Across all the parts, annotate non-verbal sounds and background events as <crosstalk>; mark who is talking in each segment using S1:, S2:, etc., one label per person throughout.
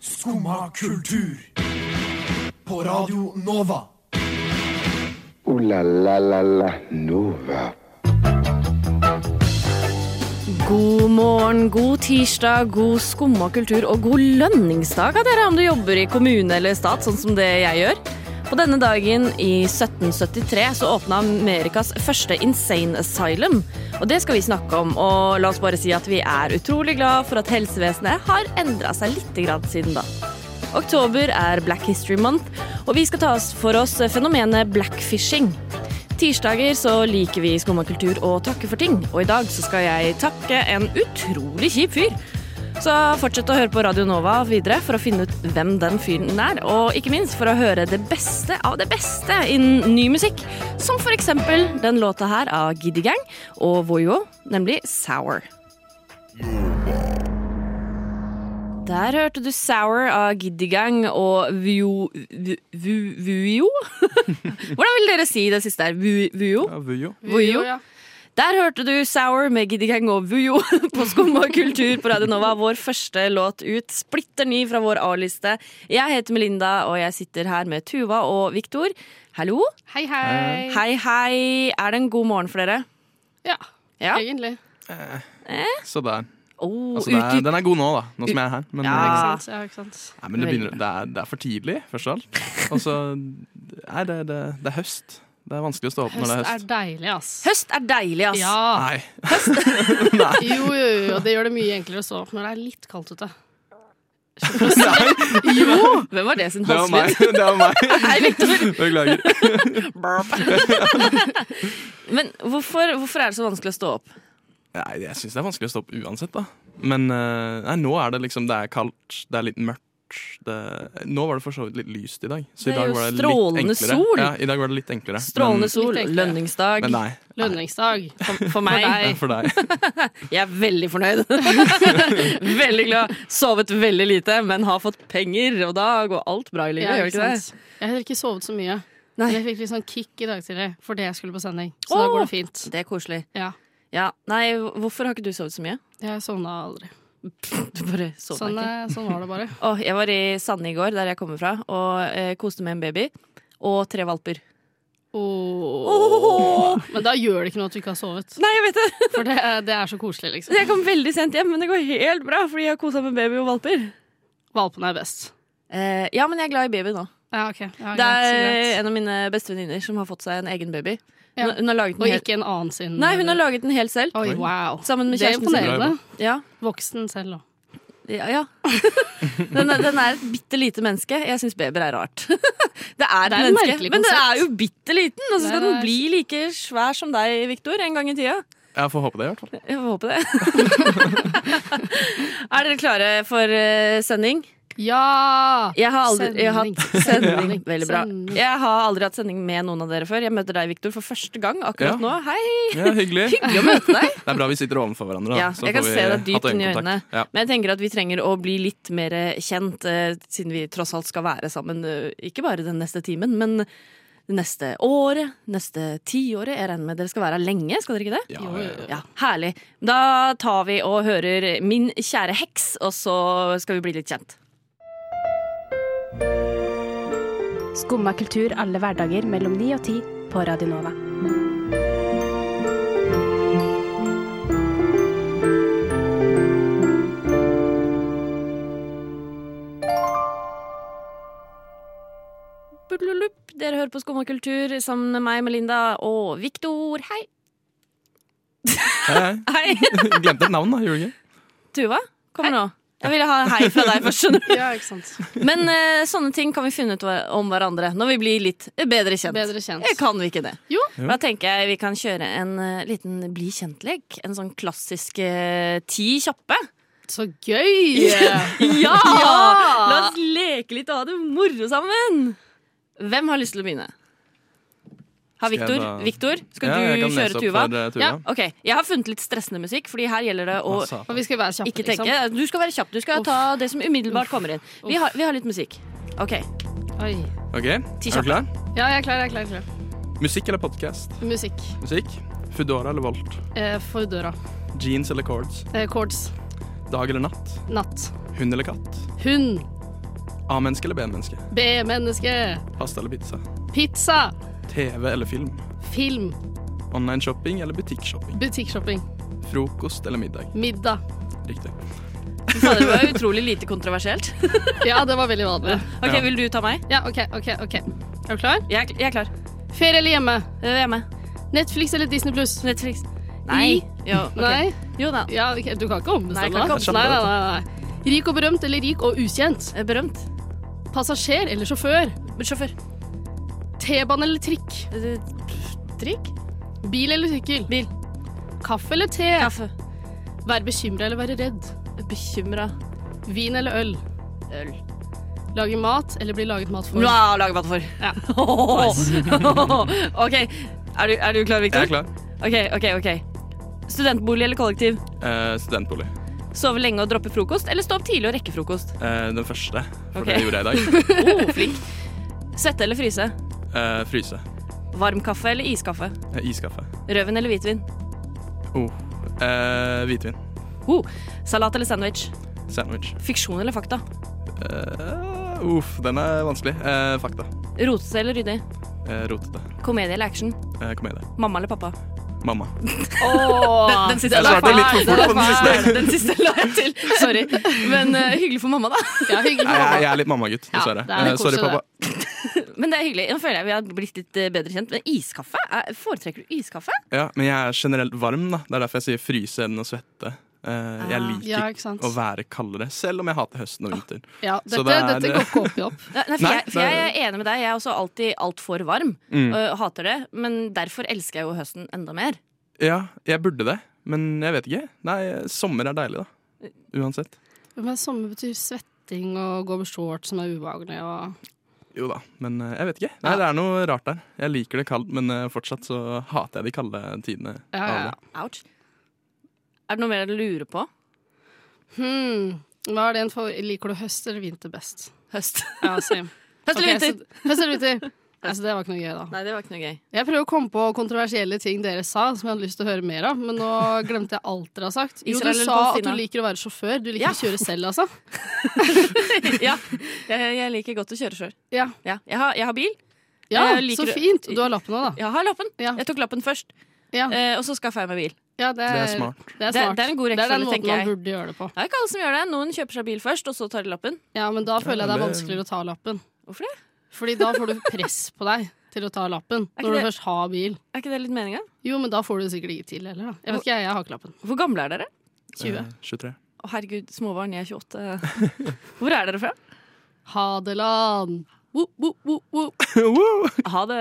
S1: Skumma kultur. På Radio Nova.
S2: Ooh la la la la Nova.
S3: God morgen, god tirsdag, god skumma kultur og god lønningsdag av dere om du jobber i kommune eller stat, sånn som det jeg gjør. På denne dagen i 1773 så åpna Amerikas første insane asylum. Og det skal vi snakke om, og la oss bare si at vi er utrolig glad for at helsevesenet har endra seg litt grann siden da. Oktober er Black History Month, og vi skal ta oss for oss fenomenet blackfishing. Tirsdager så liker vi i Skumma kultur å takke for ting, og i dag så skal jeg takke en utrolig kjip fyr. Så fortsett å høre på Radio Nova videre for å finne ut hvem den fyren er, og ikke minst for å høre det beste av det beste innen ny musikk, som for eksempel den låta her av Giddy Gang og Voyo, nemlig Sour. Der hørte du Sour av Giddygang og Vuo Vu- Vu- Vuio? <laughs> Hvordan vil dere si det siste her? Vu- Vuio?
S4: Ja, Vujo.
S3: Vujo.
S5: ja.
S3: Der hørte du Sour med Giddygang og Vujo <laughs> på Skum og kultur på Radio Nova. Vår første låt ut, splitter ny fra vår A-liste. Jeg heter Melinda, og jeg sitter her med Tuva og Viktor. Hallo.
S5: Hei, hei.
S3: Hei, hei. Er det en god morgen for dere?
S5: Ja,
S3: Ja.
S5: egentlig.
S4: Så der.
S3: Oh,
S4: Altså, det er,
S3: uti-
S4: den er god nå, da. Nå som jeg er her. Men, eh,
S3: Ja.
S5: Ikke sant? Ja, ikke sant.
S4: nei, men det, begynner, det, er, det er for tidlig, først av alt. Og så Nei, det, det, det er høst. Det er vanskelig å stå opp
S5: Høst
S4: når det er
S5: er
S4: høst.
S5: deilig, ass.
S3: Høst er deilig, ass.
S5: Ja.
S4: Nei.
S5: Jo, jo, jo, det gjør det mye enklere å stå opp når det er litt kaldt ute.
S3: Jo! Hvem var det sin
S4: Det var
S3: halsbit?
S4: meg. <laughs> Det var meg.
S3: Hei, Victor.
S4: Beklager.
S3: <laughs> Men hvorfor, hvorfor er det så vanskelig å stå opp?
S4: Nei, jeg syns det er vanskelig å stå opp uansett, da. Men eh, nei, nå er det liksom Det er kaldt, det er litt mørkt. Det, nå var det for så vidt litt lyst i dag. Så
S3: Det
S4: i
S3: er
S4: dag
S3: jo
S4: var det
S3: strålende
S4: litt enklere.
S3: sol.
S4: Ja, i dag var det litt enklere.
S3: Strålende sol,
S5: enklere.
S3: lønningsdag.
S4: Men, men nei.
S5: Lønningsdag.
S3: For, for meg.
S4: Det er for deg. <laughs>
S3: Jeg er veldig <laughs> fornøyd. veldig glad. Sovet veldig lite, men har fått penger, og da går alt bra i livet.
S5: Ja,
S3: gjør det ikke det?
S5: sant? Jeg har ikke sovet så mye.
S3: Nei.
S5: Men jeg fikk litt sånn kick i dag tidlig fordi jeg skulle på sending. Så
S3: Åh!
S5: da går det fint.
S3: Det er koselig.
S5: Ja.
S3: Ja. Nei, hvorfor har ikke du sovet så mye?
S5: Jeg sovna aldri.
S3: Du bare sov
S5: Sånn,
S3: ikke.
S5: eh, sånn var det
S3: <laughs>
S5: bare.
S3: Åh, jeg var i Sande i går, der jeg kommer fra, og eh, koste med en baby. Og tre valper.
S5: Åh. Men da gjør det ikke noe at du ikke har sovet.
S3: Nei, jeg vet det!
S5: For det, det er så koselig, liksom.
S3: Jeg kom veldig sent hjem, men det går helt bra, fordi jeg har kosa med baby og valper.
S5: Valpene er best.
S3: Eh, ja, men jeg er glad i baby nå.
S5: Ja, ok. Ja,
S3: Det
S5: greit,
S3: er
S5: greit.
S3: en av mine beste venninner som har fått seg en egen baby.
S5: Ja.
S3: Hun, hun, har laget den
S5: Og
S3: hel...
S5: ikke en annen sin.
S3: Nei, hun har laget den helt selv.
S5: Oi, wow.
S3: Sammen med
S5: Det er
S3: kjæresten sin.
S5: imponerende.
S3: Ja,
S5: Voksen selv òg.
S3: ja, <laughs> ja. Den, er, den er et bitte lite menneske. Jeg syns babyer er rart. <laughs> Det er et
S5: Det er et
S3: menneske,
S5: merkelig
S3: men den er
S5: konsept.
S3: jo bitte liten. Og så skal
S5: Det er-
S3: den bli like svær som deg, Viktor, en gang i tida.
S4: Jeg får håpe det, i hvert fall.
S3: Jeg får håpe
S5: <laughs>
S3: det. er dere klare for eh, sending?
S5: Ja!
S3: Jeg har aldri jeg har hatt sending.
S5: Sending.
S3: Veldig bra.
S5: Sending.
S3: Jeg har aldri hatt sending med noen av dere før. Jeg møter deg, Viktor, for første gang akkurat
S4: Ja.
S3: nå. Hei!
S4: Ja, hyggelig.
S3: Hyggelig å møte deg.
S4: Det er bra vi sitter overfor hverandre. Da.
S3: Ja,
S4: så
S3: jeg
S4: får
S3: kan
S4: vi
S3: se deg dypt
S4: hatt
S3: inn i
S4: øyekontakt.
S3: øynene.
S4: Ja.
S3: Men jeg tenker at vi trenger å bli litt mer kjent, eh, siden vi tross alt skal være sammen eh, ikke bare den neste timen, men det neste året, neste tiåret. Jeg regner med dere skal være her lenge, skal dere ikke det?
S4: Ja, ja, ja.
S3: Ja, Herlig. Da tar vi og hører Min kjære heks, og så skal vi bli litt kjent.
S6: Skumma kultur alle hverdager mellom 9 og 10 på Radio Nova.
S3: Bululup, Dere hører på Skum og kultur sammen med meg, Melinda og Viktor. Hei!
S4: Hei, <laughs> hei.
S3: Hei!
S4: Glemte et navn, da. Gjorde du ikke?
S3: Tuva, kom nå. Jeg ville ha en hei fra deg først, skjønner du.
S5: Ja, ikke sant.
S3: Men eh, sånne ting kan vi finne ut hva- om hverandre når vi blir litt bedre kjent.
S5: Bedre kjent.
S3: Eh, Kan vi ikke det?
S5: Jo.
S4: Jo.
S3: Da tenker jeg vi kan kjøre en eh, liten bli kjent-lek. En sånn klassisk eh, ti kjappe.
S5: Så gøy!
S3: Ja!
S5: <laughs> Ja!
S3: La oss leke litt og ha det moro sammen. Hvem har lyst til å begynne? Har
S4: Skal jeg
S3: Victor?
S4: da-
S3: Victor, skal
S4: Ja, jeg
S3: du
S4: kan lese
S3: kjøre
S4: opp
S3: Tuva?
S4: for, eh, Tuva.
S5: Ja.
S3: Ok, Jeg har funnet litt stressende musikk, Fordi her gjelder det å
S4: Sa-
S5: Og vi skal være kjappe,
S3: ikke tenke. Du skal være kjapp. Du skal
S5: Uff.
S3: ta det som umiddelbart kommer inn. Vi har, vi har litt musikk. Ok,
S5: liksom. Oi.
S3: Ti
S4: Ok, er
S3: kjappe.
S4: du klar?
S5: Ja, jeg er klar, jeg er klar. Jeg er klar.
S4: Musikk eller podkast?
S5: Musikk.
S4: Musikk. Foodora eller Volt?
S5: Eh, for døra.
S4: Jeans eller cords?
S5: Eh, chords.
S4: Dag eller natt?
S5: Natt.
S4: Hund eller katt?
S5: Hund.
S4: A-menneske eller B-menneske?
S5: B-menneske.
S4: Pasta eller pizza?
S5: Pizza.
S4: TV eller film?
S5: Film.
S4: Online shopping eller butikkshopping?
S5: Butikkshopping.
S4: Frokost eller middag?
S5: Middag.
S4: Riktig.
S3: Fy fader, det var utrolig lite <laughs> kontroversielt.
S5: Ja, det var veldig vanlig.
S3: Ok,
S4: Ja.
S3: Vil du ta meg?
S5: Ja, OK, OK. ok. Er du klar?
S3: Jeg, er- jeg er klar.
S5: Ferie eller hjemme?
S3: Eh, Jeg er hjemme.
S5: Netflix eller Disney pluss?
S3: Netflix. Nei. Jo, ok.
S5: Nei?
S3: jo da.
S5: Ja, ok, Du kan
S3: Nei, jeg
S5: ikke
S3: kan
S5: ombestemme deg.
S3: ikke
S5: Nei,
S4: ombestemme
S5: nei, nei, nei. Rik og berømt eller rik og ukjent?
S3: Eh, Berømt.
S5: Passasjer eller sjåfør?
S3: Sjåfør.
S5: T-bane eller trikk?
S3: Eh, Drikk?
S5: Bil eller sykkel?
S3: Bil.
S5: Kaffe eller te?
S3: Kaffe.
S5: Være bekymra eller være redd?
S3: Bekymra.
S5: Vin eller øl?
S3: Øl.
S5: Lage mat eller bli laget mat for?
S3: Bra, Lage mat for. <laughs>
S5: Ja.
S3: OK. Er du, er du klar, Victor?
S4: Jeg er klar.
S3: OK, OK. ok. Studentbolig eller kollektiv?
S4: Eh, studentbolig.
S3: Sove lenge og droppe frokost, eller stå opp tidlig og rekke frokost?
S4: Eh, den første, for
S3: Ok.
S4: det gjorde jeg
S3: <laughs>
S4: i dag.
S3: Oh, flink. Svette eller fryse?
S4: Eh, fryse.
S3: Varm kaffe eller iskaffe?
S4: Eh, iskaffe.
S3: Rødvin eller hvitvin?
S4: Oh. Eh, hvitvin.
S3: Oh. Salat eller sandwich?
S4: Sandwich.
S3: Fiksjon eller fakta?
S4: Eh, uff, den er vanskelig. Eh, fakta.
S3: Rotete eller ryddig?
S4: Eh, rotete.
S3: Komedie eller action?
S4: Eh, komedie.
S3: Mamma eller pappa?
S5: <laughs>
S4: Mamma.
S3: Den, den siste
S4: Jeg svarte litt for fort på den siste.
S3: Den siste la jeg til. Sorry. Men eh, hyggelig for mamma, da.
S5: Ja, hyggelig.
S4: Nei, jeg, jeg er litt mammagutt,
S5: Ja,
S4: dessverre.
S5: det er litt
S4: Eh, sorry,
S5: koselig,
S4: pappa.
S3: Men det er hyggelig. Nå føler jeg vi har blitt litt eh, bedre kjent. Men iskaffe? Er- Foretrekker du iskaffe?
S4: Ja, men jeg er generelt varm, da. Det er derfor jeg sier fryse enn å svette. Eh, jeg liker
S5: Ah, Ja, ikke sant.
S4: å være kaldere, selv om jeg hater høsten og vinteren.
S5: Ja,
S4: Så
S5: dette,
S4: det er-
S5: dette går ikke opp i opp.
S3: Nei, for,
S4: Nei,
S3: jeg, for
S4: det er-
S3: jeg er enig med deg. Jeg er også alltid altfor varm. og hater det. Men derfor elsker jeg jo høsten enda mer.
S4: Ja, jeg burde det, men jeg vet ikke. Nei, sommer er deilig, da. Uansett.
S5: Men sommer betyr svetting og gå med shorts som er ubehagelig og
S4: Jo da, men eh, jeg vet ikke. Nei, Det er noe rart der. Jeg liker det kaldt, men eh, fortsatt så hater jeg de kalde tidene.
S5: Ja, ja, ja.
S3: Ouch. Er det noe mer du lurer på?
S5: Hmm. Hva er det en for Liker du høst eller vinter best?
S3: Høst.
S5: Ja, same.
S3: <laughs> Høst eller
S5: Ok,
S3: vinter?
S5: så- <laughs> Høst eller vinter? Altså, det var ikke noe gøy, da.
S3: Nei, det var ikke noe gøy. <laughs>
S5: Jeg prøver å komme på kontroversielle ting dere sa, som jeg hadde lyst til å høre mer av. Men nå glemte jeg alt dere har sagt. Jo,
S3: Israel
S5: du
S3: eller
S5: sa at du
S3: Palestina?
S5: liker å være sjåfør. Du liker
S3: Ja.
S5: å kjøre selv, altså.
S3: Ja, jeg, jeg liker godt å kjøre sjøl.
S5: Ja,
S3: <laughs> Ja. Jeg, har- jeg har bil.
S5: ja
S3: Jeg liker
S5: så
S3: å-
S5: fint. Du har lappen nå, da.
S3: Jeg har lappen.
S5: Ja.
S3: Jeg tok lappen først,
S5: Ja,
S3: eh, og så skaffa jeg meg bil.
S5: ja det,
S4: Det
S5: er,
S4: er smart.
S5: Det er,
S3: Det-
S5: smart.
S3: det er en god
S5: Det er den
S3: rekkefølge,
S5: måten
S3: tenker
S5: man
S3: jeg.
S5: burde gjøre det på.
S3: Det er ikke alle som gjør det. Noen kjøper seg bil først, og så tar de lappen.
S5: Ja, men da føler jeg det er
S4: det-
S5: vanskeligere å ta lappen.
S3: Hvorfor det?
S5: Fordi da får du press på deg til å ta lappen.
S3: Er ikke
S5: Når du
S3: det-
S5: først har bil.
S3: Er ikke det litt meninga?
S5: Jo, men da får du det sikkert ikke til heller, da. Jeg vet ikke, jeg, jeg har ikke lappen.
S3: Hvor gamle er dere?
S5: 20.
S4: Eh, 23. <laughs>
S3: Å, herregud, småbarn. Jeg er 28. <laughs> Hvor er dere fra?
S5: Hadeland.
S3: Wo, wo, wo, wo.
S4: Wow!
S3: Ha det.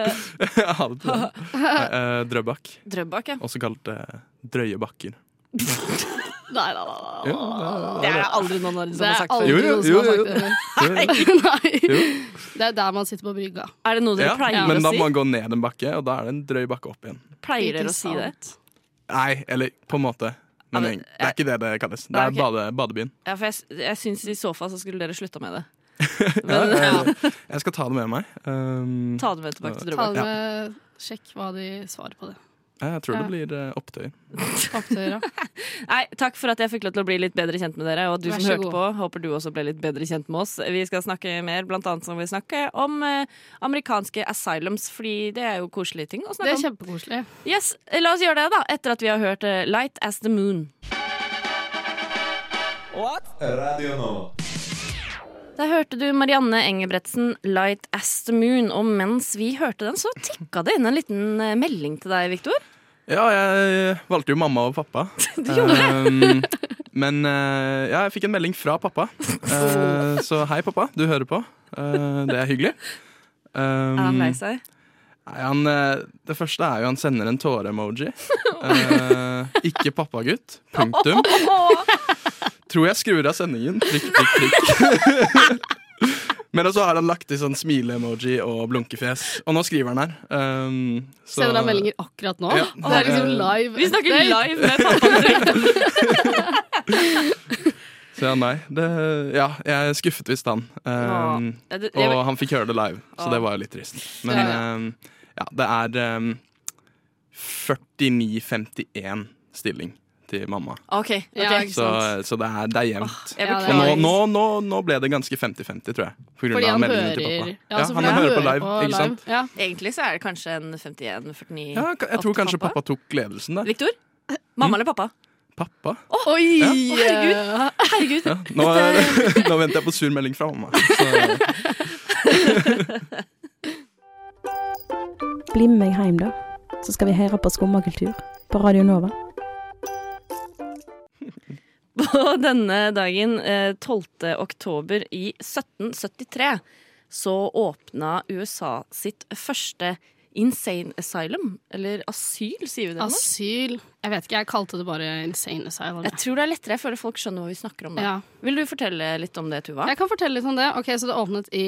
S4: <laughs> Jeg hater det. Nei, eh, Drøbak,
S3: Drøbak, ja.
S4: også kalt eh, drøye bakker.
S5: Nei, nei, nei. nei.
S4: Jo,
S3: <laughs>
S4: det er-
S3: Det er aldri noen av dere som har
S5: Det er
S3: sagt før.
S5: aldri
S4: Jo, jo,
S5: noen som har
S4: jo,
S5: sagt det. heller.
S4: det
S3: <laughs>
S4: er-
S5: Nei.
S4: Jo.
S5: Det er der man sitter på brygga.
S3: Er det noe dere
S4: Ja,
S3: pleier
S4: men da
S3: å
S4: må
S3: si?
S4: man gå ned en bakke, og da er det en drøy bakke opp igjen.
S3: Pleier dere å si det?
S4: Nei, eller på en måte.
S3: Ja,
S4: Men
S3: men,
S4: det er ikke det det kalles. Det
S3: Nei,
S4: er
S3: ok.
S4: bade,
S3: <laughs>
S4: badebyen.
S3: Ja, for jeg, jeg syns i så fall så skulle dere slutta med det.
S4: <laughs> Ja,
S3: Men
S4: eh, jeg skal ta det med meg. Um,
S3: ta det med tilbake til
S5: Ta
S3: Drøbak.
S5: det med Sjekk hva de svarer
S3: <laughs>
S5: på det.
S4: jeg tror
S5: Ja.
S4: det blir eh, opptøyer.
S5: Opptøyere.
S3: Nei, takk for at jeg fikk lov til å bli litt bedre kjent med dere, og du
S5: Vær
S3: som
S5: så
S3: hørte
S5: god.
S3: på, håper du også ble litt bedre kjent med oss. Vi skal snakke mer, blant annet som vi snakker om eh, amerikanske asylums, fordi det er jo koselige ting å
S5: Det
S3: snakke
S5: er
S3: om.
S5: kjempekoselig.
S3: Yes, eh, la oss gjøre det, da, etter at vi har hørt eh, Light as the Moon.
S7: Radio Nova.
S3: Der hørte du Marianne Engebretsen, 'Light as the Moon'. Og mens vi hørte den, så tikka det inn en liten eh, melding til deg, Victor.
S4: Ja, jeg valgte jo mamma og
S3: <laughs>
S4: pappa. du gjorde det? men eh, ja, jeg fikk en melding fra
S3: <laughs>
S4: pappa. Eh, så hei, pappa. Du hører på. Eh, det er hyggelig. Um,
S3: Er han
S5: Mm.
S3: lei seg?
S4: Nei, han, eh, det første er jo han sender en tåre-emoji. Eh, ikke pappagutt. Punktum. Tror jeg skrur av sendingen. Prikk, prikk, prikk. Men så har han lagt i sånn smile-emoji og blunkefjes. Og nå skriver han her. Um, så-
S5: Sender deg meldinger akkurat nå.
S4: Ja.
S5: Det er liksom
S4: Eh,
S5: live.
S3: Vi snakker
S5: update.
S3: live med pappaen direkte.
S4: Så ja, nei. Det, ja, jeg skuffet visst han. Um,
S3: Ja, det- jeg-
S4: og han fikk høre det live, så det var jo litt trist. Men
S5: Ja,
S4: um, ja, det er um, 49-51 stilling til mamma.
S3: OK. ok.
S5: Ja, ikke
S4: Så,
S5: sant.
S4: så det, er, det er jevnt.
S3: Jeg
S5: Ja, det
S4: Og
S5: er
S4: nå,
S5: nice.
S4: nå, nå, nå ble det ganske 50-50, tror jeg. På grunn
S5: Fordi
S4: av
S5: han
S4: meldingene
S5: hører
S4: til pappa.
S5: Ja, altså, fordi
S4: han,
S5: han
S4: hører på
S5: hører
S4: live, ikke sant?
S5: Ja.
S3: Egentlig så er det kanskje en 51-49
S4: Ja, ka- jeg tror kanskje pappa tok ledelsen der.
S3: Victor? Mamma eller pappa?
S4: Pappa?
S5: Oi!
S4: Ja.
S5: herregud.
S3: Herregud.
S4: Ja, nå,
S5: eh,
S4: <laughs> nå venter jeg på sur melding fra mamma. Så,
S6: Bli med meg hjem, da. Så skal vi høre på skummakultur på Radio Nova.
S3: <laughs> På denne dagen, eh, 12. oktober i 1773, så åpna USA sitt første insane asylum. Eller asyl, sier vi det nå?
S5: Asyl. Jeg vet ikke, jeg kalte det bare insane asylum.
S3: Jeg tror det er lettere. Jeg føler folk skjønner hva vi snakker om. Da.
S5: Ja.
S3: Vil du fortelle litt om det, Tuva?
S5: Jeg kan fortelle litt om det. Ok, Så det åpnet i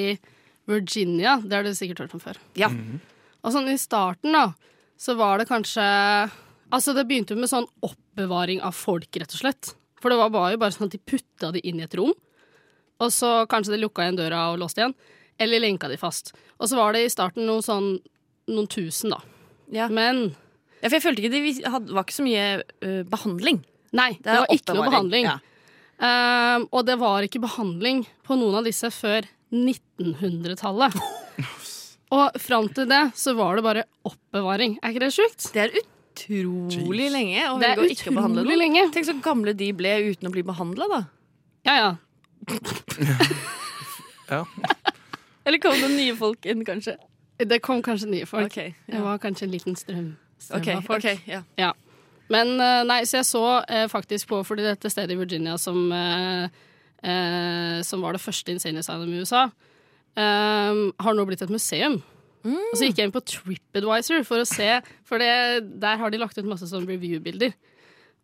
S5: Virginia. Det har du sikkert hørt om før.
S3: Ja.
S4: Mm.
S5: Og sånn i starten, da, så var det kanskje Altså, det begynte jo med sånn oppbevaring av folk, rett og slett. For det var bare, jo bare sånn at de putta de inn i et rom, og så kanskje de lukka igjen døra og låste igjen. Eller lenka de fast. Og så var det i starten noe sånn noen tusen, da.
S3: Ja.
S5: Men
S3: Ja, for jeg følte ikke det vi hadde, var ikke så mye eh, behandling.
S5: nei, det, var ikke noe
S3: oppbevaring.
S5: behandling.
S3: Ja.
S5: Ehm, og det var ikke behandling på noen av disse før
S3: <laughs>
S5: 1900-tallet. Og fram til det så var det bare oppbevaring. Er ikke det sjukt?
S3: Det er utrolig
S4: Jeez.
S3: lenge å
S5: Det er
S3: velge å ikke behandle
S5: utrolig
S3: noen.
S5: lenge.
S3: Tenk så gamle de ble uten å bli behandla, da.
S5: Ja, ja.
S4: ja.
S3: Eller kom det nye folk inn, kanskje?
S5: Det kom kanskje nye
S3: <laughs>
S5: folk.
S3: Ok,
S5: Det
S3: ja.
S5: var kanskje en liten strøm, strøm
S3: Ok,
S5: av folk.
S3: ok, ja.
S5: Ja. Men eh, nei, så jeg så eh, faktisk på Fordi dette stedet i Virginia som, eh, eh, som var det første insane asylum i USA, eh, har nå blitt et museum. Og så gikk jeg inn på TripAdvisor for å se, for det, der har de lagt ut masse sånn review-bilder.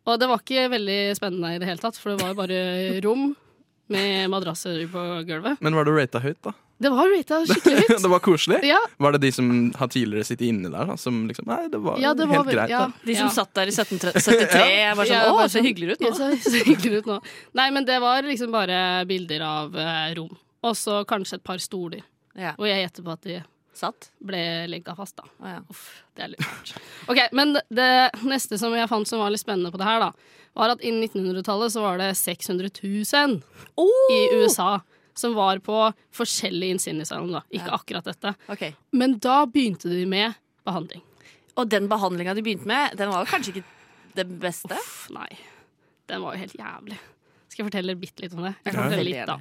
S5: Og det var ikke veldig spennende i det hele tatt, for det var jo bare rom med madrasser på gulvet.
S4: Men var det rata høyt, da?
S5: Det var rata <laughs> skikkelig høyt.
S4: <laughs> Det var koselig?
S5: Ja,
S4: Var det de som har tidligere sittet inne der, da? Som liksom Nei, det var,
S5: ja, det var
S4: helt
S5: vel-
S4: greit.
S5: ja,
S4: da.
S3: De som
S5: ja.
S3: satt der i <laughs> 1773, jeg var sånn
S5: Ja,
S3: Å,
S5: bare
S3: så
S5: sånn,
S3: hyggelig ut nå.
S5: Det ser så hyggelig ut nå. Nei, men det var liksom bare bilder av eh, rom. Og så kanskje et par stoler.
S3: Ja.
S5: Og jeg gjetter på at de
S3: Satt.
S5: ble lenka fast, da.
S3: Å, ja.
S5: Uff, det er litt rart. Ok, Men det neste som jeg fant som var litt spennende på det her, da, var at innen 1900-tallet så var det 600 000 i
S3: Oh!
S5: USA som var på forskjellige insane asylum, da. Ikke
S3: Ja.
S5: akkurat dette.
S3: Ok.
S5: Men da begynte de med behandling.
S3: Og den behandlinga de begynte med, den var jo kanskje ikke det beste?
S5: Uff, nei. Den var jo helt jævlig. Skal jeg fortelle bitte litt om det?
S3: Ja.
S5: Jeg kan fortelle litt da.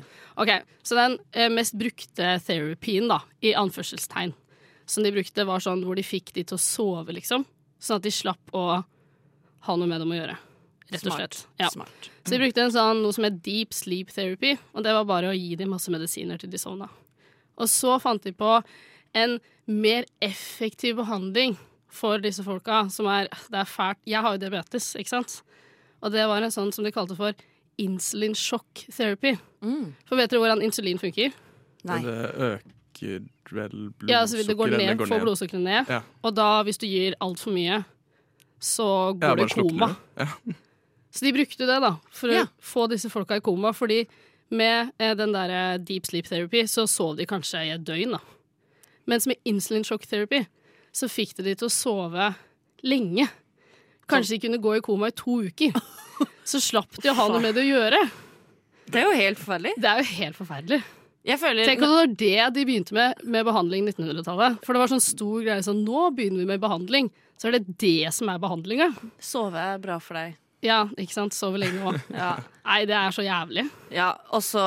S5: Ok, Så den eh, mest brukte therapien, da, i anførselstegn, som de brukte, var sånn hvor de fikk de til å sove, liksom. Sånn at de slapp å ha noe med dem å gjøre. Rett og slett. Ja.
S3: Smart.
S5: Så de brukte en sånn, noe som het deep sleep therapy, og det var bare å gi dem masse medisiner til de sovna. Og så fant de på en mer effektiv behandling for disse folka, som er Det er fælt. Jeg har jo diabetes, ikke sant? Og det var en sånn som de kalte for insulin shock therapy.
S3: Mm.
S5: For vet dere hvordan insulin funker?
S3: Nei.
S4: Det øker vel blodsukkeret?
S5: Ja, altså Det går
S4: eller
S5: ned, får blodsukkeret ned.
S4: Ja.
S5: Og da, hvis du gir altfor mye, så
S4: Ja,
S5: går du
S4: bare
S5: i
S4: slukker
S5: koma.
S4: det. Ja.
S5: Så de brukte det da, for
S3: Ja.
S5: å få disse folka i koma, fordi med eh, den der eh, deep sleep therapy så sov de kanskje i et døgn, da. Mens med insulin shock therapy så fikk de de til å sove lenge. Kanskje de kunne gå i koma i to uker. Så slapp de å ha noe med det å gjøre.
S3: Det er jo helt forferdelig.
S5: Det er jo helt forferdelig.
S3: Jeg føler
S5: Tenk om det var det de begynte med med behandling 1900-tallet. For det var sånn stor greie sånn Nå begynner vi med behandling. Så er det det som er behandlinga.
S3: Sove er bra for deg.
S5: Ja, ikke sant. Sove lenge òg.
S3: Ja.
S5: Nei, det er så jævlig.
S3: ja. Og så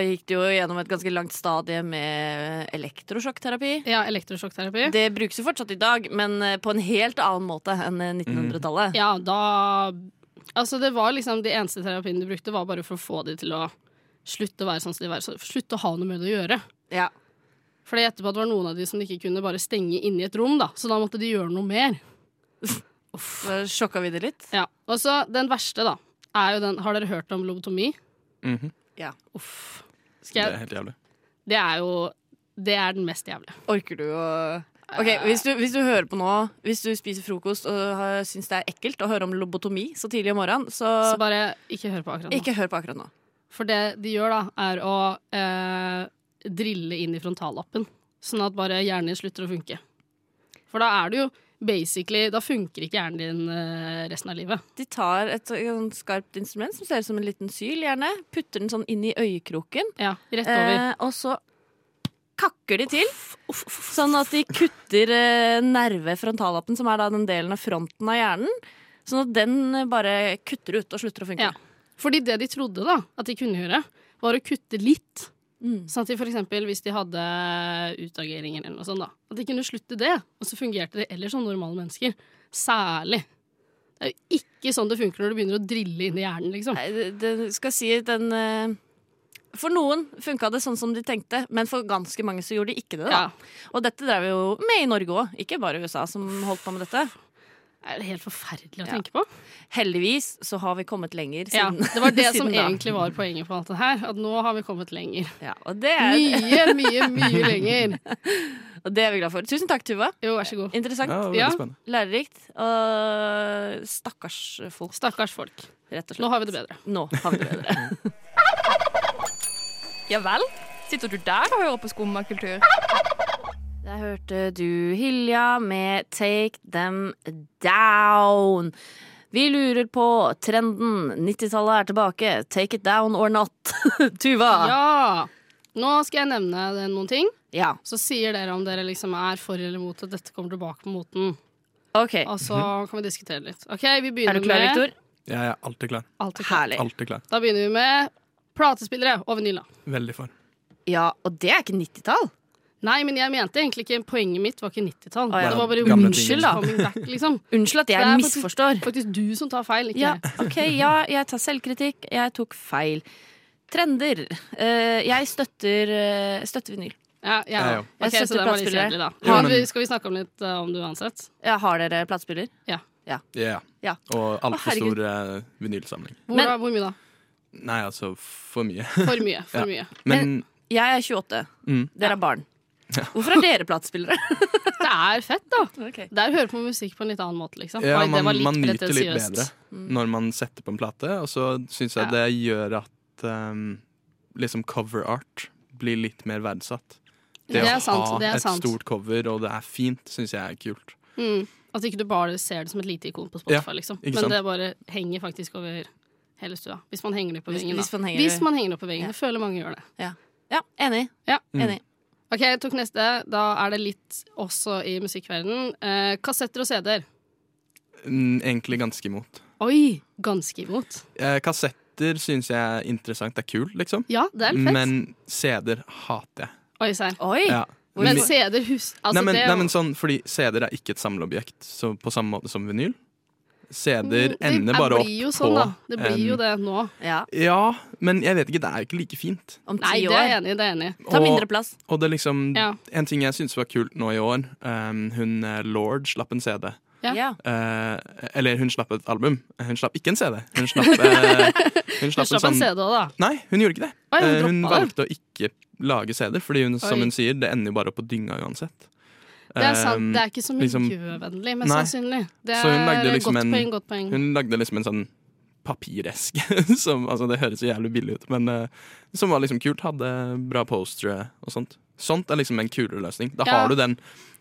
S3: gikk det jo gjennom et ganske langt stadie med elektrosjokkterapi.
S5: Ja, elektrosjokkterapi.
S3: Det brukes jo fortsatt i dag, men eh, på en helt annen måte enn eh, 1900-tallet.
S5: Ja, da Altså, det var liksom De eneste terapiene de brukte, var bare for å få de til å slutte å være sånn som de var. så- Slutte å ha noe med det å gjøre.
S3: Ja.
S5: For jeg gjetter på at det var noen av de som de ikke kunne bare stenge inne i et rom, da. Så da måtte de gjøre noe mer. eh,
S3: Så sjokka vi det litt.
S5: Ja. Og så den verste, da, er jo den Har dere hørt om lobotomi?
S4: Mhm.
S3: Ja.
S5: Uff.
S4: Det
S5: Skal
S4: er
S5: jeg
S4: helt jævlig.
S5: Det er jo Det er den mest jævlige.
S3: Orker du å Ok, hvis du, hvis du hører på nå, hvis du spiser frokost og har- syns det er ekkelt å høre om lobotomi så tidlig om morgenen, så,
S5: Så bare ikke hør på akkurat nå.
S3: ikke hør på akkurat nå.
S5: For det de gjør, da, er å eh, drille inn i frontallappen. Sånn at bare hjernen din slutter å funke. For da er du jo basically Da funker ikke hjernen din eh, resten av livet.
S3: De tar et sånn skarpt instrument som ser ut som en liten syl, gjerne. Putter den sånn inn i øyekroken.
S5: Ja, Rett over.
S3: Eh, og så kakker de til, sånn at de kutter eh, nerve frontallappen, som er da den delen av fronten av hjernen. Sånn at den eh, bare kutter ut og slutter å funke.
S5: Ja. Fordi det de trodde da, at de kunne gjøre, var å kutte litt.
S3: Mm.
S5: Sånn at de for eksempel, hvis de hadde utageringer eller noe sånt, da, at de kunne slutte det. Og så fungerte det ellers som normale mennesker. Særlig. Det er jo ikke sånn det funker når du begynner å drille inn i hjernen, liksom.
S3: Nei, det, det skal si den eh, For noen funka det sånn som de tenkte, men for ganske mange så gjorde de ikke det. da.
S5: Ja,
S3: Og dette drev vi jo med i Norge òg, ikke bare USA som holdt på med dette.
S5: det er helt forferdelig å
S3: Ja.
S5: tenke på.
S3: Heldigvis så har vi kommet lenger
S5: Ja,
S3: siden.
S5: det var det
S3: <laughs>
S5: som
S3: siden da.
S5: egentlig var poenget på alt det her. At nå har vi kommet lenger.
S3: Ja, og, det er, <laughs>
S5: Mye, mye, mye lenger.
S3: og det er vi glad for. Tusen takk, Tuva.
S5: Jo, vær så god.
S3: Interessant.
S4: Ja, veldig
S5: Ja.
S4: spennende.
S3: Lærerikt. Og stakkars folk,
S5: Stakkars folk.
S3: rett og slett.
S5: Nå har vi det bedre.
S3: Nå har vi det bedre.
S8: Ja vel? Sitter du der og hører på skummakultur?
S3: <laughs> Der hørte du Hilja med Take Them Down. Vi lurer på trenden. 90-tallet er tilbake. Take it down or not. <laughs> Tuva.
S5: Ja! Nå skal jeg nevne det- noen ting.
S3: Ja,
S5: Så sier dere om dere liksom er for eller mot at dette kommer tilbake på moten.
S3: OK.
S5: Og så kan vi diskutere litt. Ok, vi begynner
S3: Mhm. Er du klar,
S5: med
S3: Viktor?
S4: Jeg er alltid klar.
S5: Alltid klar.
S3: Herlig.
S4: Alltid klar.
S5: Da begynner vi med platespillere og vinyl. da.
S4: Veldig for.
S3: Ja, og det er ikke 90-tall.
S5: Nei, men jeg mente egentlig ikke Poenget mitt var ikke 90-tall.
S3: Å, ja.
S5: Det var bare
S4: Gamle ting.
S5: unnskyld, da. Coming back, liksom.
S3: Unnskyld at
S5: Det er
S3: jeg
S5: faktisk-
S3: misforstår.
S5: Faktisk du som tar feil, ikke
S3: Ja,
S5: jeg.
S3: OK, ja, jeg tar selvkritikk. Jeg tok feil. Trender. Eh, jeg støtter, eh, støtter vinyl.
S5: Ja, ja.
S4: Jeg òg.
S5: Ok,
S3: Jeg
S5: så den var litt
S3: støtter
S5: kjedelig, da.
S4: Ja,
S5: Men
S4: men-
S5: vi, skal vi snakke om litt uh, om du uansett?
S3: Ja, har dere platespiller?
S4: Ja.
S3: Ja.
S4: Og
S3: Å,
S4: altfor
S3: herregud.
S4: stor eh, vinylsamling.
S5: Hvor,
S3: Men-
S5: da, hvor mye, da?
S4: Nei, altså, for mye. <laughs>
S5: For mye.
S4: Ja.
S5: For mye.
S4: Men
S3: Jeg er 28.
S4: Mm.
S3: Dere er barn. Hvorfor er dere
S5: <laughs>
S3: platespillere?
S5: Det er fett, da. Det er å høre på musikk på en litt annen måte, liksom.
S4: ja,
S5: Oi, det
S4: man,
S5: var litt
S4: man nyter litt
S5: pretensiøst.
S4: bedre når man setter på en plate, og så syns jeg
S5: Ja.
S4: det gjør at um, liksom cover art blir litt mer verdsatt.
S5: Det er sant, det er
S4: et
S5: sant.
S4: stort cover, og det er fint, syns jeg er kult.
S5: Mm. At ikke du bare ser det som et lite ikon på Spotify,
S4: Ja,
S5: liksom.
S4: ikke
S5: Men
S4: sant?
S5: det bare henger faktisk over hele stua. Hvis man henger det på
S3: Hvis-
S5: veggen, da.
S3: hvis man henger-
S5: hvis man henger det på veggen.
S3: Ja.
S5: Jeg føler mange gjør det.
S3: Ja, enig.
S5: Ja.
S4: Mm.
S3: enig.
S5: Ok, jeg tok neste. Da er det litt også i musikkverdenen. Eh, kassetter og CD-er.
S4: Mm, Egentlig ganske imot.
S5: Oi! Ganske imot.
S4: Eh, kassetter syns jeg er interessant, det er kult, liksom.
S5: Ja, det er litt fett.
S4: Men CD-er hater jeg.
S5: Oi, serr.
S3: Oi!
S4: Ja.
S3: Hvorfor?
S5: Men CD-er hus... Altså,
S4: nei, men,
S5: det
S4: nei, men sånn, fordi CD-er er ikke et samleobjekt, så på samme måte som vinyl. CD-er
S5: Mm, Det
S4: ender bare opp
S5: blir jo
S4: på
S5: sånn, da. Det blir
S4: en-
S5: jo det nå.
S3: Ja,
S4: Ja, men jeg vet ikke, det er jo ikke like fint.
S3: om
S5: Nei,
S3: ti
S5: det er
S3: år.
S5: jeg enig i. Det er jeg enig i.
S3: Ta
S4: Og-
S3: mindre plass.
S4: Og det er liksom
S5: Ja.
S4: En ting jeg syntes var kult nå i år, ehm, hun eh, Lord slapp en CD.
S5: Ja.
S3: Ja.
S4: Eh, eller hun slapp et album. Hun slapp ikke en CD. Hun slapp,
S5: <laughs>
S4: eh, hun
S5: Du
S4: slapp en
S5: slapp en
S4: sånn
S5: CD òg, da.
S4: Nei, hun gjorde ikke det.
S5: Oi, hun
S4: Eh, hun
S5: droppa det.
S4: valgte å ikke lage CD, fordi hun, som
S5: Oi.
S4: hun sier, det ender jo bare opp på dynga uansett.
S5: Det er sant.
S4: Ehm,
S5: Det er ikke så
S4: liksom-
S5: miljøvennlig, mest
S4: Nei.
S5: sannsynlig. Det
S4: Så
S5: er
S4: hun lagde liksom
S5: godt
S4: en-
S5: poeng, godt poeng.
S4: Hun lagde liksom en sånn papireske <laughs> som Altså, det høres jo jævlig billig ut, men eh, som var liksom kult. Hadde bra postere og sånt. Sånt er liksom en kulere løsning. Da
S5: Ja.
S4: har du den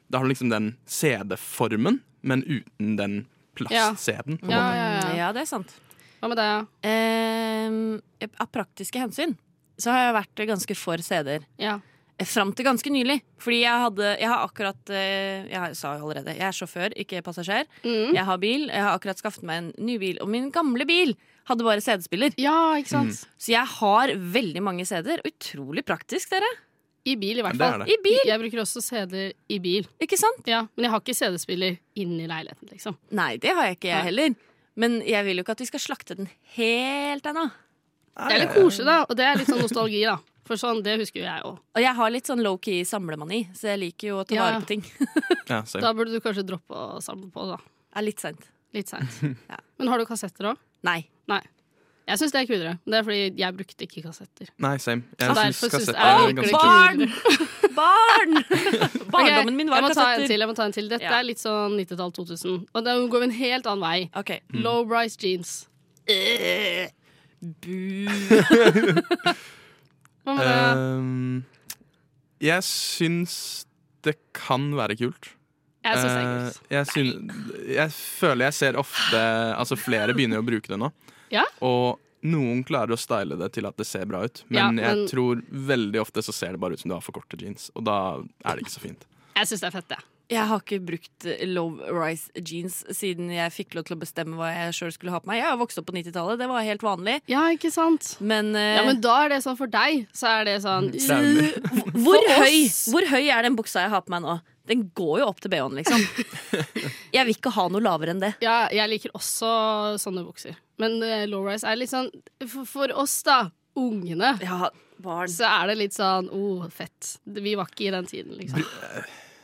S4: Da har du liksom den CD-formen, men uten den plast-CD-en. på en
S5: Ja,
S4: måte.
S5: ja, ja.
S3: Ja, det er sant.
S5: Hva med deg?
S3: Ehm, av praktiske hensyn så har jeg vært ganske for CD-er.
S5: Ja.
S3: Eh, Fram til ganske nylig. Fordi jeg hadde Jeg har akkurat eh, Jeg har- sa jo allerede, jeg er sjåfør, ikke passasjer.
S5: Mm.
S3: Jeg har bil. Jeg har akkurat skaffet meg en ny bil. Og min gamle bil hadde bare CD-spiller.
S5: ja, ikke
S4: Mm.
S5: sant?
S3: Så jeg har veldig mange CD-er. Utrolig praktisk, dere.
S5: I bil, i hvert
S4: Det er
S5: fall.
S4: det.
S3: I bil,
S5: Jeg bruker også CD-er i bil.
S3: ikke sant?
S5: Ja, men jeg har ikke CD-spiller inni leiligheten, liksom.
S3: Nei, det har jeg ikke,
S5: Nei.
S3: jeg heller. Men jeg vil jo ikke at vi skal slakte den helt ennå.
S5: Det er litt koselig, da, og det er litt sånn nostalgi, da. For sånn, det husker jo jeg òg.
S3: Og jeg har litt sånn low-key samlemani, så jeg liker jo å ta
S5: Ja.
S3: vare på ting. <laughs> Det
S4: Ja, same.
S5: Da burde du kanskje droppe å samle på, da.
S3: er litt seint.
S5: Litt seint.
S4: <laughs>
S5: Men har du kassetter òg?
S3: Nei.
S5: Jeg syns det er kulere. Det er fordi jeg brukte ikke kassetter.
S4: Nei, same.
S5: Så
S4: Jeg syns
S5: derfor syns-
S4: kassetter
S5: jeg
S4: er
S5: liker det
S4: ganske
S5: ikke.
S3: Barn! <laughs> Barn!
S5: <laughs>
S3: Barndommen Ah, min var
S5: jeg må ta en
S3: kassetter.
S5: til. jeg må ta en til Dette
S3: Ja.
S5: er litt sånn 90-tall 2000. Og da går vi en helt annen vei.
S3: Ok.
S4: Mm.
S3: Øh,
S5: Low rise jeans.
S3: Bu.
S5: Hva med
S4: Eh,
S5: det?
S4: Ehm, Jeg syns det kan være kult.
S5: Jeg syns det er
S4: Eh,
S5: kult.
S4: jeg, syn- jeg føler jeg ser ofte Altså flere begynner å bruke det nå.
S5: Ja.
S4: Og noen klarer å style det til at det ser bra ut, men,
S5: Ja, men-
S4: jeg tror veldig ofte så ser det bare ut som du har for korte jeans. Og da er det ikke så fint.
S5: Jeg syns det er fett, jeg.
S9: Jeg har ikke brukt low rise jeans siden jeg fikk lov til å bestemme hva jeg sjøl skulle ha på meg. Jeg har vokst opp på 90-tallet, det var helt vanlig.
S5: Ja, ikke sant?
S9: Men, eh,
S3: øh,
S5: Ja, men da er det sånn for deg, så er det
S4: Mm.
S5: sånn
S4: Traumer.
S9: hvor,
S5: for
S9: høy,
S5: oss-
S9: hvor høy er den buksa jeg har på meg nå? Den går jo opp til BH-en,
S5: <laughs>
S9: liksom. Jeg vil ikke ha noe lavere enn det.
S5: Ja, jeg liker også sånne bukser. Men uh, low-rise er litt sånn for, for oss, da, ungene,
S9: Ja, barn.
S5: så er det litt sånn oh, fett. Vi var ikke i den tiden, liksom.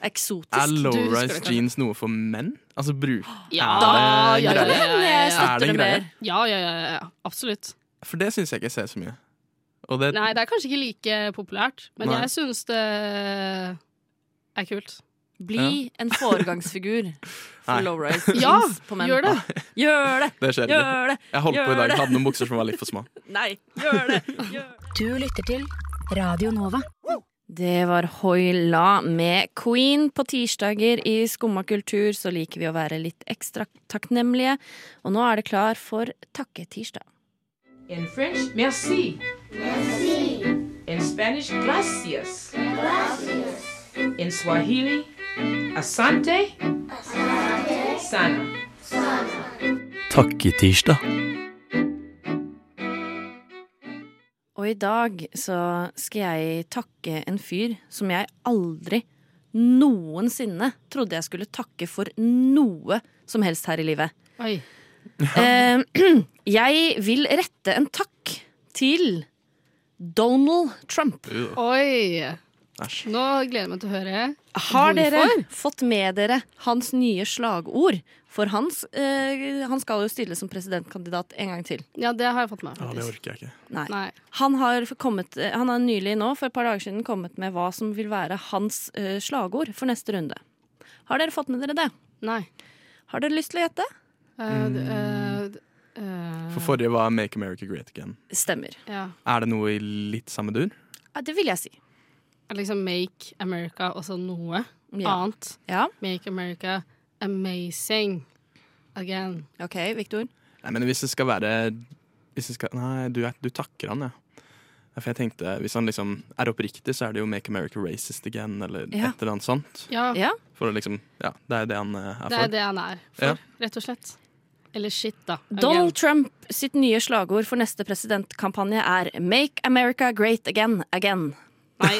S4: Er
S9: Eksotisk.
S5: husker
S4: low-rise
S5: det kanskje.
S4: jeans noe for menn? Altså bruk
S5: Ja,
S4: Er det
S5: ja, ja,
S4: greit?
S5: ja, ja,
S9: Jeg
S5: ja.
S4: Er det
S9: støtter
S4: en
S9: det mer.
S5: ja, ja, ja, ja, ja. Absolutt.
S4: For det syns jeg ikke jeg ser så mye. Og det,
S5: Nei, det er kanskje ikke like populært, men
S4: Nei.
S5: jeg syns det er
S4: <laughs>
S5: kult.
S9: Bli en foregangsfigur
S4: Nei.
S9: for low-rise jeans
S5: Ja,
S9: på menn.
S4: <laughs>
S5: gjør det!
S9: Gjør det!
S4: det skjer ikke.
S9: Gjør det!
S4: Jeg holdt på i
S9: Gjør
S4: dag,
S9: det.
S4: hadde noen bukser som var litt for små.
S9: Nei, gjør det!
S5: <laughs>
S9: Gjør det.
S6: Du lytter til Radio Nova.
S3: Det var Hoila med Queen. På tirsdager i Skumma kultur så liker vi å være litt ekstra takknemlige. Og nå er det klar for takketirsdag.
S10: In French, merci. Merci. In Spanish, gracias. Gracias. In Swahili, asante. Asante. Sana.
S1: Takketirsdag.
S3: Og i dag så skal jeg takke en fyr som jeg aldri noensinne trodde jeg skulle takke for noe som helst her i livet.
S5: Oi.
S3: Eh, <clears throat> jeg vil rette en takk til Donald Trump.
S5: Oi.
S4: Æsj.
S5: Nå gleder jeg meg til å høre.
S3: Har dere
S5: Hvorfor?
S3: fått med dere hans nye slagord? For hans, eh, han skal jo stille som presidentkandidat en gang til.
S5: Ja, det har jeg fått med
S4: Ja,
S5: meg.
S4: det
S5: faktisk.
S4: orker jeg ikke.
S3: Nei.
S5: Nei.
S3: Han, har kommet, eh, han har nylig nå, for et par dager siden, kommet med hva som vil være hans eh, slagord for neste runde. Har dere fått med dere det?
S5: Nei.
S3: Har dere lyst til å gjette?
S5: Eh, d- eh, d- eh,
S4: For forrige var Make America Great Again.
S3: Stemmer.
S5: ja.
S4: Er det noe i litt samme dur?
S3: Ja, det vil jeg si.
S5: Liksom Make America og så noe
S3: Ja.
S5: annet.
S3: ja.
S5: Make America amazing again.
S3: OK, Viktor.
S4: Nei, men hvis det skal være hvis det skal, Nei, du, er- du takker han, ja. Ja, For jeg tenkte, Hvis han liksom er oppriktig, så er det jo 'Make America Racist Again' eller
S3: Ja.
S4: et eller annet sånt.
S5: Ja,
S3: Ja.
S4: For å liksom, ja, Det er jo det han eh, er
S5: det er
S4: for.
S5: det han er
S4: Ja.
S5: for, rett og slett. Eller shit, da. Again.
S3: Donald Trump sitt nye slagord for neste presidentkampanje er 'Make America Great Again Again'.
S5: Nei.
S4: <laughs>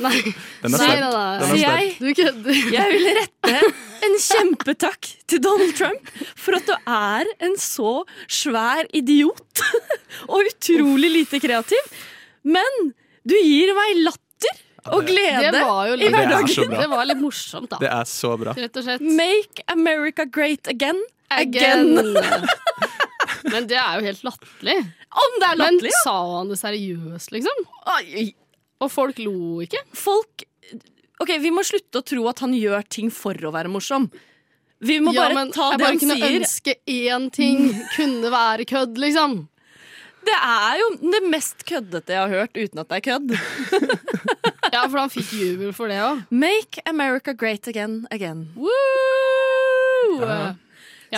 S5: <laughs> Nei.
S4: den
S5: Nei,
S4: er sterk.
S5: nei,
S4: Den
S5: nei.
S4: er
S3: Så
S4: sterk.
S3: jeg,
S5: Du kødder.
S3: jeg vil rette en kjempetakk til Donald Trump for at du er en så svær idiot og utrolig lite kreativ. Men du gir meg latter og
S5: Det
S3: glede.
S5: var jo
S4: Det
S5: litt,
S4: er så bra.
S5: det var litt morsomt, da.
S4: Det er så bra.
S5: Rett og slett.
S3: Make America Great Again.
S5: Again. <laughs> Men det er jo helt latterlig.
S3: Om det er
S5: Men
S3: latterlig! ja.
S5: sa han det seriøst, liksom?
S3: Oi,
S5: Og folk lo ikke?
S3: Folk Ok, Vi må slutte å tro at han gjør ting for å være morsom. Vi må
S5: Ja,
S3: bare
S5: men
S3: ta
S5: jeg
S3: det
S5: bare
S3: han
S5: kunne
S3: sier.
S5: ønske én ting kunne være kødd, liksom.
S3: Det er jo det mest køddete jeg har hørt, uten at det er kødd.
S5: Ja, for han fikk jubel for det òg.
S3: Make America great again again.
S5: Ja,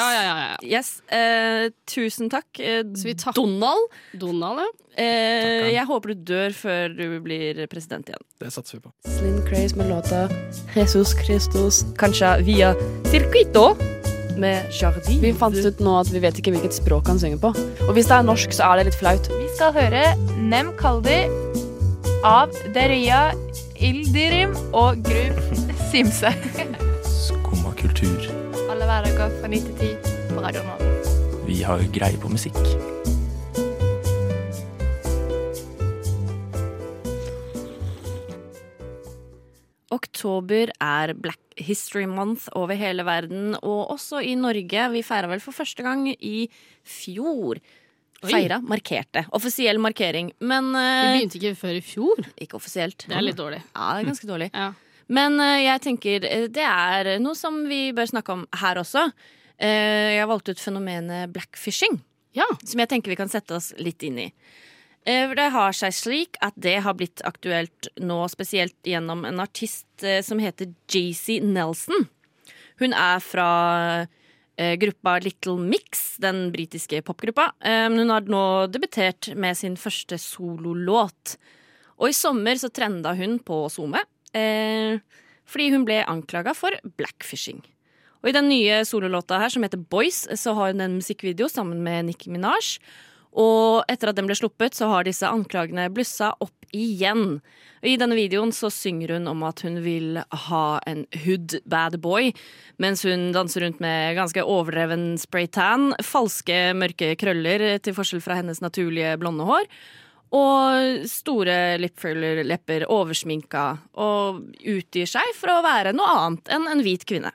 S5: ja, ja. ja.
S3: Yes, eh, tusen takk, eh,
S5: Så vi takker-
S3: Donald.
S5: Donald, ja.
S3: Eh, jeg håper du dør før du blir president igjen.
S4: Det satser vi på.
S6: Slim Craze med låta Jesus Christus, kanskje via Circuito.
S3: Med Jardin.
S6: Vi fant ut nå at vi vet ikke hvilket språk han synger på. Og hvis det er norsk, så er det litt flaut.
S8: Vi skal høre Nem Kaldi av Deria Ildirim og Grub Simse.
S1: Skumma kultur.
S8: Alle hverdager fra 9 til 10 på Radio Nova.
S1: Vi har greie på musikk.
S3: Oktober er Black History Month over hele verden, og også i Norge. Vi feira vel for første gang i fjor.
S5: Oi.
S3: Feira, markerte. Offisiell markering, men
S5: Vi
S3: eh,
S5: begynte ikke før i fjor.
S3: Ikke offisielt.
S5: Det er litt dårlig.
S3: Ja, det er ganske dårlig.
S5: Ja.
S3: Men eh, jeg tenker eh, det er noe som vi bør snakke om her også. Eh, jeg valgte ut fenomenet blackfishing,
S5: Ja.
S3: som jeg tenker vi kan sette oss litt inn i. Eh, for det har seg slik at det har blitt aktuelt nå, spesielt gjennom en artist eh, som heter JC Nelson. Hun er fra eh, gruppa Little Mix, den britiske popgruppa. Eh, men hun har nå debutert med sin første sololåt. Og i sommer så trenda hun på SoMe eh, fordi hun ble anklaga for blackfishing. Og i den nye sololåta her som heter Boys, så har hun en musikkvideo sammen med Nicki Minaj. Og etter at den ble sluppet, så har disse anklagene blussa opp igjen. Og I denne videoen så synger hun om at hun vil ha en hood bad boy, mens hun danser rundt med ganske overdreven spraytan, falske mørke krøller til forskjell fra hennes naturlige blonde hår, og store lipfiller-lepper, oversminka, og utgir seg for å være noe annet enn en hvit kvinne.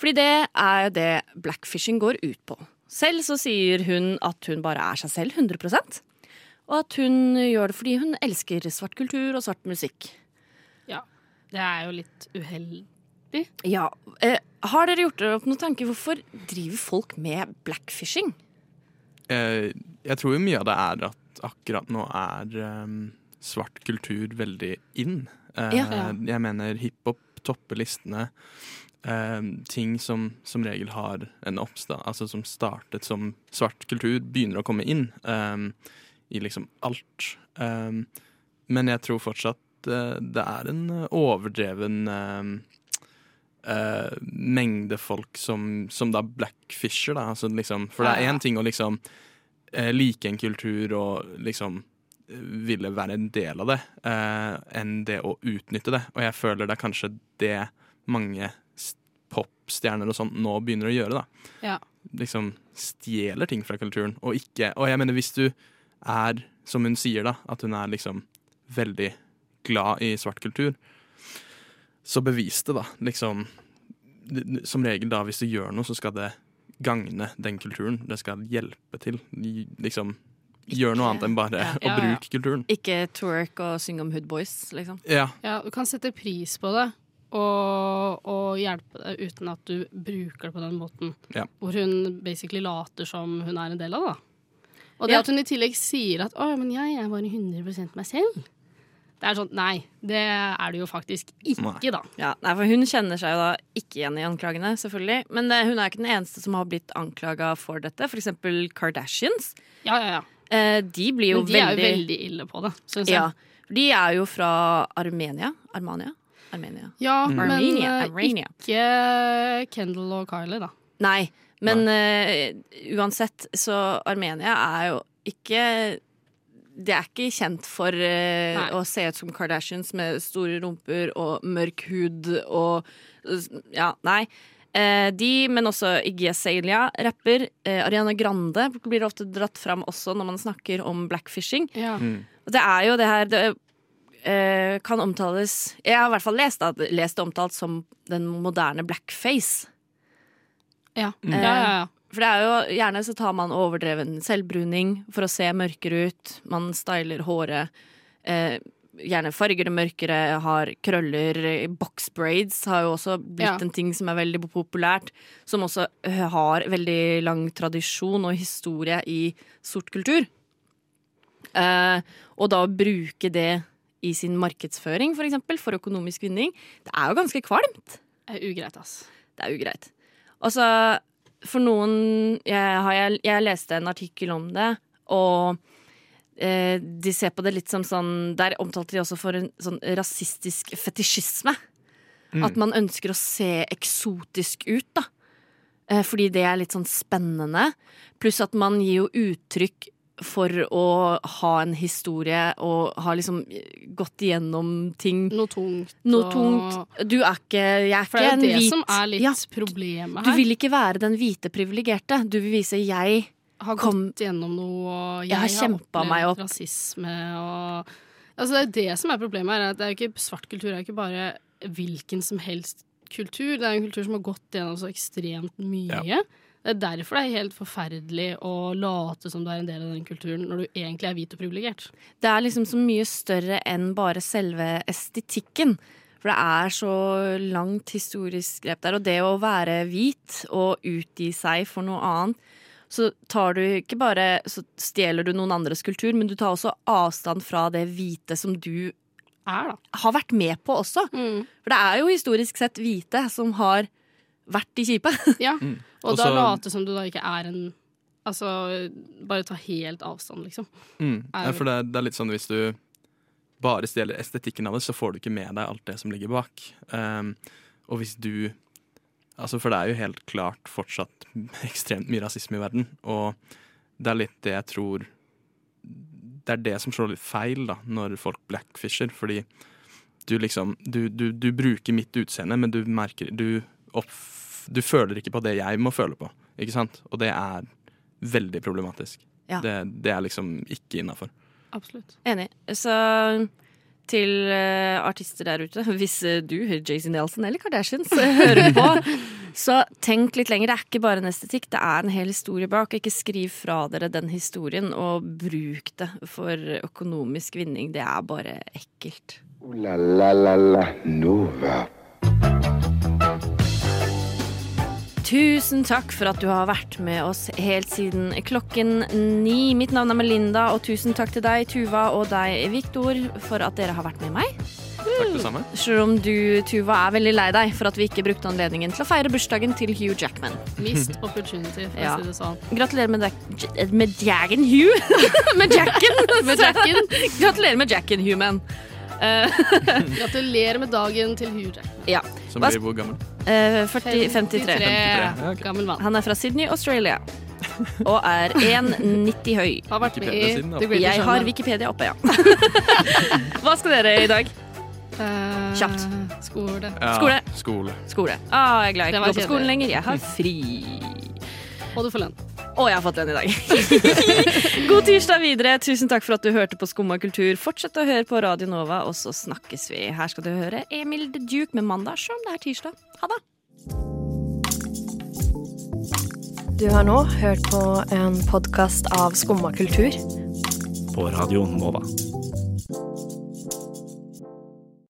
S3: Fordi det er jo det blackfishing går ut på. Selv så sier hun at hun bare er seg selv 100 og at hun gjør det fordi hun elsker svart kultur og svart musikk.
S5: Ja. Det er jo litt uheldig.
S3: Ja, eh, Har dere gjort dere opp noen tanke? Hvorfor driver folk med blackfishing?
S4: Eh, jeg tror jo mye av det er at akkurat nå er ehm, svart kultur veldig in. Eh,
S3: Ja.
S5: Ja.
S4: Jeg mener hiphop topper listene. Ehm, ting som som regel har en oppstad, altså som startet som svart kultur, begynner å komme inn ehm, i liksom alt. Ehm, men jeg tror fortsatt eh, det er en eh, overdreven ehm, eh, mengde folk som, som da blackfisher, da. Altså, liksom, for det er én ting å liksom eh, like en kultur og liksom eh, ville være en del av det, eh, enn det å utnytte det. Og jeg føler det er kanskje det mange s- popstjerner og sånt nå begynner å gjøre, da.
S5: Ja.
S4: Liksom stjeler ting fra kulturen, og ikke Og jeg mener, hvis du er, som hun sier, da, at hun er liksom veldig glad i svart kultur, så bevis det, da. Liksom Som regel, da, hvis du gjør noe, så skal det gagne den kulturen. Det skal hjelpe til. Liksom Gjør noe annet enn bare
S3: Ja.
S4: å
S5: Ja, ja.
S4: bruke kulturen.
S3: Ikke twerk og synge om hood boys, liksom.
S4: Ja,
S5: Ja, du kan sette pris på det og, og hjelpe det uten at du bruker det på den måten.
S4: Ja.
S5: Hvor hun basically later som hun er en del av det. da. Og det
S3: Ja.
S5: at hun i tillegg sier at 'Å, men jeg er bare 100 meg selv'. Det er sånn Nei, det er du jo faktisk ikke, da.
S3: Ja, nei, for Hun kjenner seg jo da ikke igjen i anklagene, selvfølgelig. Men eh, hun er ikke den eneste som har blitt anklaga for dette. For eksempel Kardashians.
S5: Ja, ja, ja.
S3: Eh, de blir jo
S5: Men de er jo veldig ille på det, syns jeg.
S3: Ja, de er jo fra Armenia. Armania? Armenia.
S5: Ja, men
S3: Armenia.
S5: eh,
S3: Armenia.
S5: ikke Kendal og Kylie, da.
S3: Nei, men eh, uansett, så Armenia er jo ikke Det er ikke kjent for eh,
S5: Nei.
S3: å se ut som Kardashians med store rumper og mørk hud og Ja, nei. Eh, de, men også Iggy Azalea, rapper. Eh, Ariana Grande blir ofte dratt fram også når man snakker om blackfishing.
S5: Ja.
S3: Og Det er jo det her det, eh, kan omtales Jeg har i hvert fall lest, at, lest det omtalt som den moderne blackface.
S5: Ja. ja, ja, ja.
S3: For det er jo gjerne så tar man overdreven selvbruning for å se mørkere ut. Man styler håret. Eh, gjerne farger det mørkere, har krøller. Boxbraids har jo også blitt
S5: Ja.
S3: en ting som er veldig populært. Som også eh, har veldig lang tradisjon og historie i sort kultur. Eh, og da å bruke det i sin markedsføring, for eksempel, for økonomisk vinning, det er jo ganske kvalmt.
S5: Det er Ugreit, ass.
S3: Det er ugreit. Og så for noen jeg, har, jeg, jeg leste en artikkel om det, og eh, de ser på det litt som sånn Der omtalte de også for en sånn rasistisk fetisjisme. At man ønsker å se eksotisk ut, da. Eh, fordi det er litt sånn spennende. Pluss at man gir jo uttrykk for å ha en historie og har liksom gått igjennom ting.
S5: Noe tungt.
S3: Noe
S5: og-
S3: tungt. Du er ikke Jeg er
S5: For det
S3: ikke
S5: er
S3: en
S5: jo det
S3: hvit
S5: som er litt
S3: Ja,
S5: problemet
S3: du
S5: her.
S3: vil ikke være den hvite privilegerte. Du vil vise 'jeg'.
S5: har
S3: Kom-
S5: gått gjennom noe, og jeg,
S3: Jeg har kjempet
S5: opplevd
S3: meg opp.
S5: rasisme og Altså, det er det som er problemet her. er at Det er jo ikke, svart kultur er jo ikke bare hvilken som helst kultur. Det er en kultur som har gått gjennom så ekstremt mye. Det er derfor det er helt forferdelig å late som du er en del av den kulturen, når du egentlig er hvit og privilegert.
S3: Det er liksom så mye større enn bare selve estetikken. For det er så langt historisk grep der. Og det å være hvit og utgi seg for noe annet, så tar du ikke bare Så stjeler du noen andres kultur, men du tar også avstand fra det hvite som du
S5: Er, da. Mm.
S3: har vært med på også. For det er jo historisk sett hvite som har vært de kjipe.
S5: Ja. Og
S4: Mm. Og
S5: da
S4: så-
S5: late som du da ikke er en Altså, bare ta helt avstand, liksom.
S4: Mm.
S5: Er-
S4: Ja, for det er, det er litt sånn hvis du bare stjeler estetikken av det, så får du ikke med deg alt det som ligger bak. Um, og hvis du Altså, for det er jo helt klart fortsatt <laughs> ekstremt mye rasisme i verden, og det er litt det jeg tror Det er det som slår litt feil, da, når folk blackfisher, fordi du liksom Du, du, du bruker mitt utseende, men du merker Du oppf... Du føler ikke på det jeg må føle på, ikke sant? Og det er veldig problematisk.
S3: Ja.
S4: Det, det er liksom ikke innafor.
S5: Absolutt.
S3: Enig. Så til eh, artister der ute, <laughs> hvis eh, du, Jason Nelson eller Kardashians, eh, hører på, så tenk litt lenger. Det er ikke bare en estetikk, det er en hel historie bak. Ikke skriv fra dere den historien, og bruk det for økonomisk vinning. Det er bare ekkelt.
S2: Ooh la la la la Nova.
S3: Tusen takk for at du har vært med oss helt siden klokken ni. Mitt navn er Melinda, og tusen takk til deg, Tuva, og deg, Viktor, for at dere har vært med meg.
S4: Takk det samme.
S3: Selv om du, Tuva, er veldig lei deg for at vi ikke brukte anledningen til å feire bursdagen til Hugh Jackman.
S5: Missed opportunity, for
S3: Ja.
S5: å si det sånn.
S3: Gratulerer med, deg- med jagen, Hugh! <laughs> med jacken!
S5: Med Jacken,
S3: Gratulerer med jacken, Hugh, man.
S5: gratulerer med dagen til Hugh Jackman.
S3: Ja.
S4: Som
S3: Hva-
S4: blir hvor gammel?
S3: Eh, 40, 53.
S4: 53, ja, ok.
S5: Gammel mann.
S3: Han er fra Sydney, Australia. Og er 1,90 høy.
S5: Har vært med i
S4: Wikipedia-siden, da.
S5: The Greatest
S3: Jeg har
S5: Showman.
S3: Wikipedia <laughs> oppe, ja. Hva skal dere i dag?
S5: Eh,
S3: Kjapt.
S5: Skole.
S4: Ja,
S3: Skole.
S4: skole.
S3: Skole. Ah, jeg er glad jeg
S5: Den
S3: ikke
S5: var
S3: går på skolen lenger. Jeg har fri.
S5: Og du får lønn.
S3: Og jeg har fått den i dag. <laughs> God tirsdag videre. Tusen takk for at du hørte på Skumma kultur. Fortsett å høre på Radio Nova, og så snakkes vi. Her skal du høre Emil The Duke med 'Mandag', selv om det er tirsdag. Ha det.
S11: Du har nå hørt på en podkast av Skumma kultur.
S12: På Radio Nova.